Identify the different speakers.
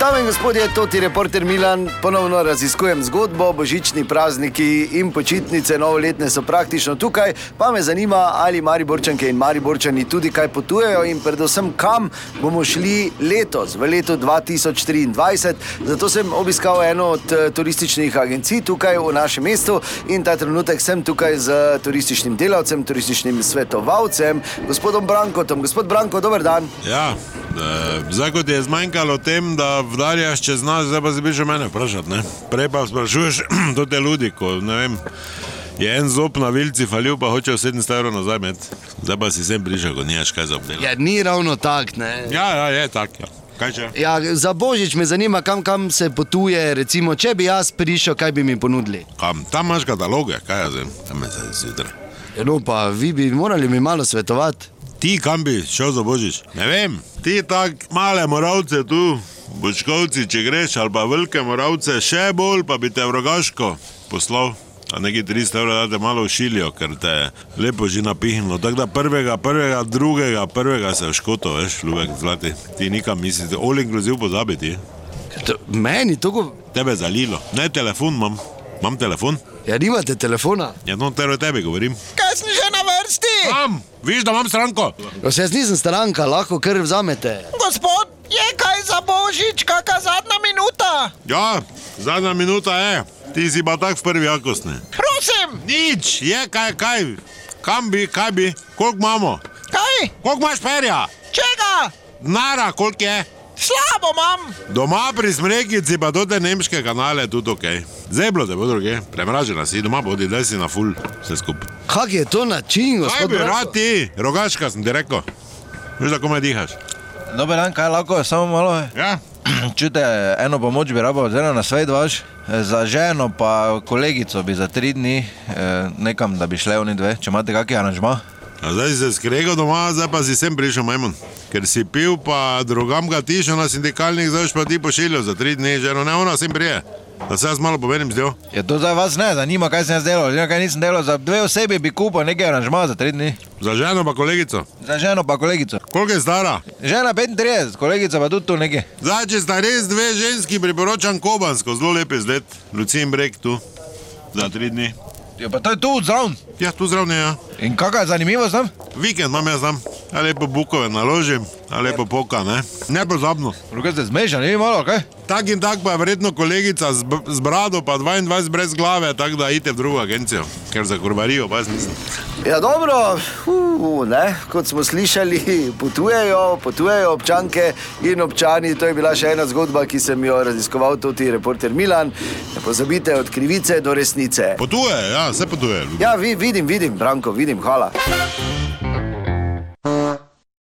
Speaker 1: Dame in gospodje, to ti reporter Milan, ponovno raziskujem zgodbo. Božični prazniki in počitnice novoletne so praktično tukaj, pa me zanima, ali Mariborčanke in Mariborčani tudi kaj potujejo in predvsem kam bomo šli letos, v letu 2023. Zato sem obiskal eno od eh, turističnih agencij tukaj v našem mestu in ta trenutek sem tukaj z turističnim delavcem, turističnim svetovalcem, gospodom Brankotom. Gospod Branko, dober dan.
Speaker 2: Ja, eh, zdaj kot je zmanjkalo tem, da vdarjaš čez nas, zdaj pa si bi že mene vprašal. ne. Prej pa sprašuješ to te ljudi, ko ne vem. Je en zob na vilci falil, pa hoče 700 evrov nazaj med. Zdaj pa si sem prišel, ko nimaš kaj za obdelati.
Speaker 3: Ja, ni ravno tak, ne.
Speaker 2: Ja, ja, je tak. Ja. Kaj če?
Speaker 3: Ja, za božič me zanima, kam, kam se potuje. Recimo, če bi jaz prišel, kaj bi mi ponudili.
Speaker 2: Kam? Tam imaš kataloge, kaj jaz vem, tam je zdaj zjutraj.
Speaker 3: Ja, No, pa vi bi morali mi malo svetovati.
Speaker 2: Ti kam bi šel za božič? Ne vem, ti tako male moravce tu, bočkovci, če greš, ali pa velike moravce, še bolj pa bi te v rogaško poslal. A neki 300 evrov date malo ušilijo, ker te je lepo že napihnilo. Tako da prvega, prvega, drugega, prvega se v škoto, veš, ljubek zlati. Ti nikam mislite, all inclusive pozabiti.
Speaker 3: Ker to- Meni to go...
Speaker 2: Tebe zalilo. Ne telefon imam, imam telefon.
Speaker 3: Ja, nimate telefona.
Speaker 2: Ja, no, ter o tebi govorim.
Speaker 3: Kaj sem že na vrsti?
Speaker 2: Imam, viš, da imam stranko.
Speaker 3: No, se jaz nisem stranka, lahko kar vzamete.
Speaker 4: Gospod, je kaj za božič, kakšna zadnja minuta?
Speaker 2: Ja, zadnja minuta je, ti si pa tak v prvi jakosni.
Speaker 4: Prosim,
Speaker 2: Nič, je kaj, kaj, kam bi, kaj bi, koliko imamo,
Speaker 4: kaj?
Speaker 2: koliko imaš perja,
Speaker 4: Čega?
Speaker 2: nara, koliko je.
Speaker 4: Slabo imam.
Speaker 2: Doma pri smrekici pa do te nemške kanale je tudi ok. Zeblo te bo druge, premražena si, doma bodi, daj si na ful, vse skupaj.
Speaker 3: Kak je to način,
Speaker 2: Kaj
Speaker 3: gospod?
Speaker 2: bi
Speaker 3: Branko?
Speaker 2: rad ti, rogaška sem ti rekel. Veš, da komaj dihaš.
Speaker 5: Dober dan, kaj lahko, samo malo. eh.
Speaker 2: Ja,
Speaker 5: Čute, eno pomoč bi rabo, oziroma na svet vaš, Eh, za ženo pa kolegico bi za tri dni eh, nekam, da bi šle oni dve, če imate kakšen aranžma.
Speaker 2: A zdaj si se skregal doma, zdaj pa si sem prišel majmun. Ker si pil, pa drugam ga tišel na sindikalnih, zdaj boš pa ti pošiljal za tri dni, že no ne ona sem prije. Da se jaz malo pomenim z delom.
Speaker 5: Je to zdaj vas ne zanima, kaj sem jaz delal, oziroma kaj nisem delal, za dve osebi bi kupil nekaj aranžma za tri dni.
Speaker 2: Za ženo pa kolegico.
Speaker 5: Za ženo pa kolegico.
Speaker 2: Koliko je stara?
Speaker 5: Žena 35, kolegica pa tudi tu nekaj.
Speaker 2: Zdaj, če sta res dve ženski, priporočam Kobansko, zelo lep izlet. Lucin Breg tu. Za tri dni.
Speaker 5: Ja, pa to je tu zraven.
Speaker 2: Ja, tu zraven je. Ja.
Speaker 5: In kakšna zanimivost tam?
Speaker 2: Vikend imam jaz tam. Ja, lepo bukove naložim, ja, lepo poka, ne. Nepozabno.
Speaker 5: Druga ste zmešani, ni malo, kaj?
Speaker 2: Tak in tak pa je verjetno kolegica z, b- z brado, pa 22 brez glave, tako da idete v drugo agencijo, ker za kurbarijo, pa jaz nisem.
Speaker 1: Ja, dobro, uh, ne, kot smo slišali, potujejo, potujejo občanke in občani. To je bila še ena zgodba, ki sem jo raziskoval tudi reporter Milan. Ne pozabite od krivice do resnice.
Speaker 2: Potuje, ja, se potuje.
Speaker 1: Ja, vi, vidim, vidim, Branko, vidim, hvala.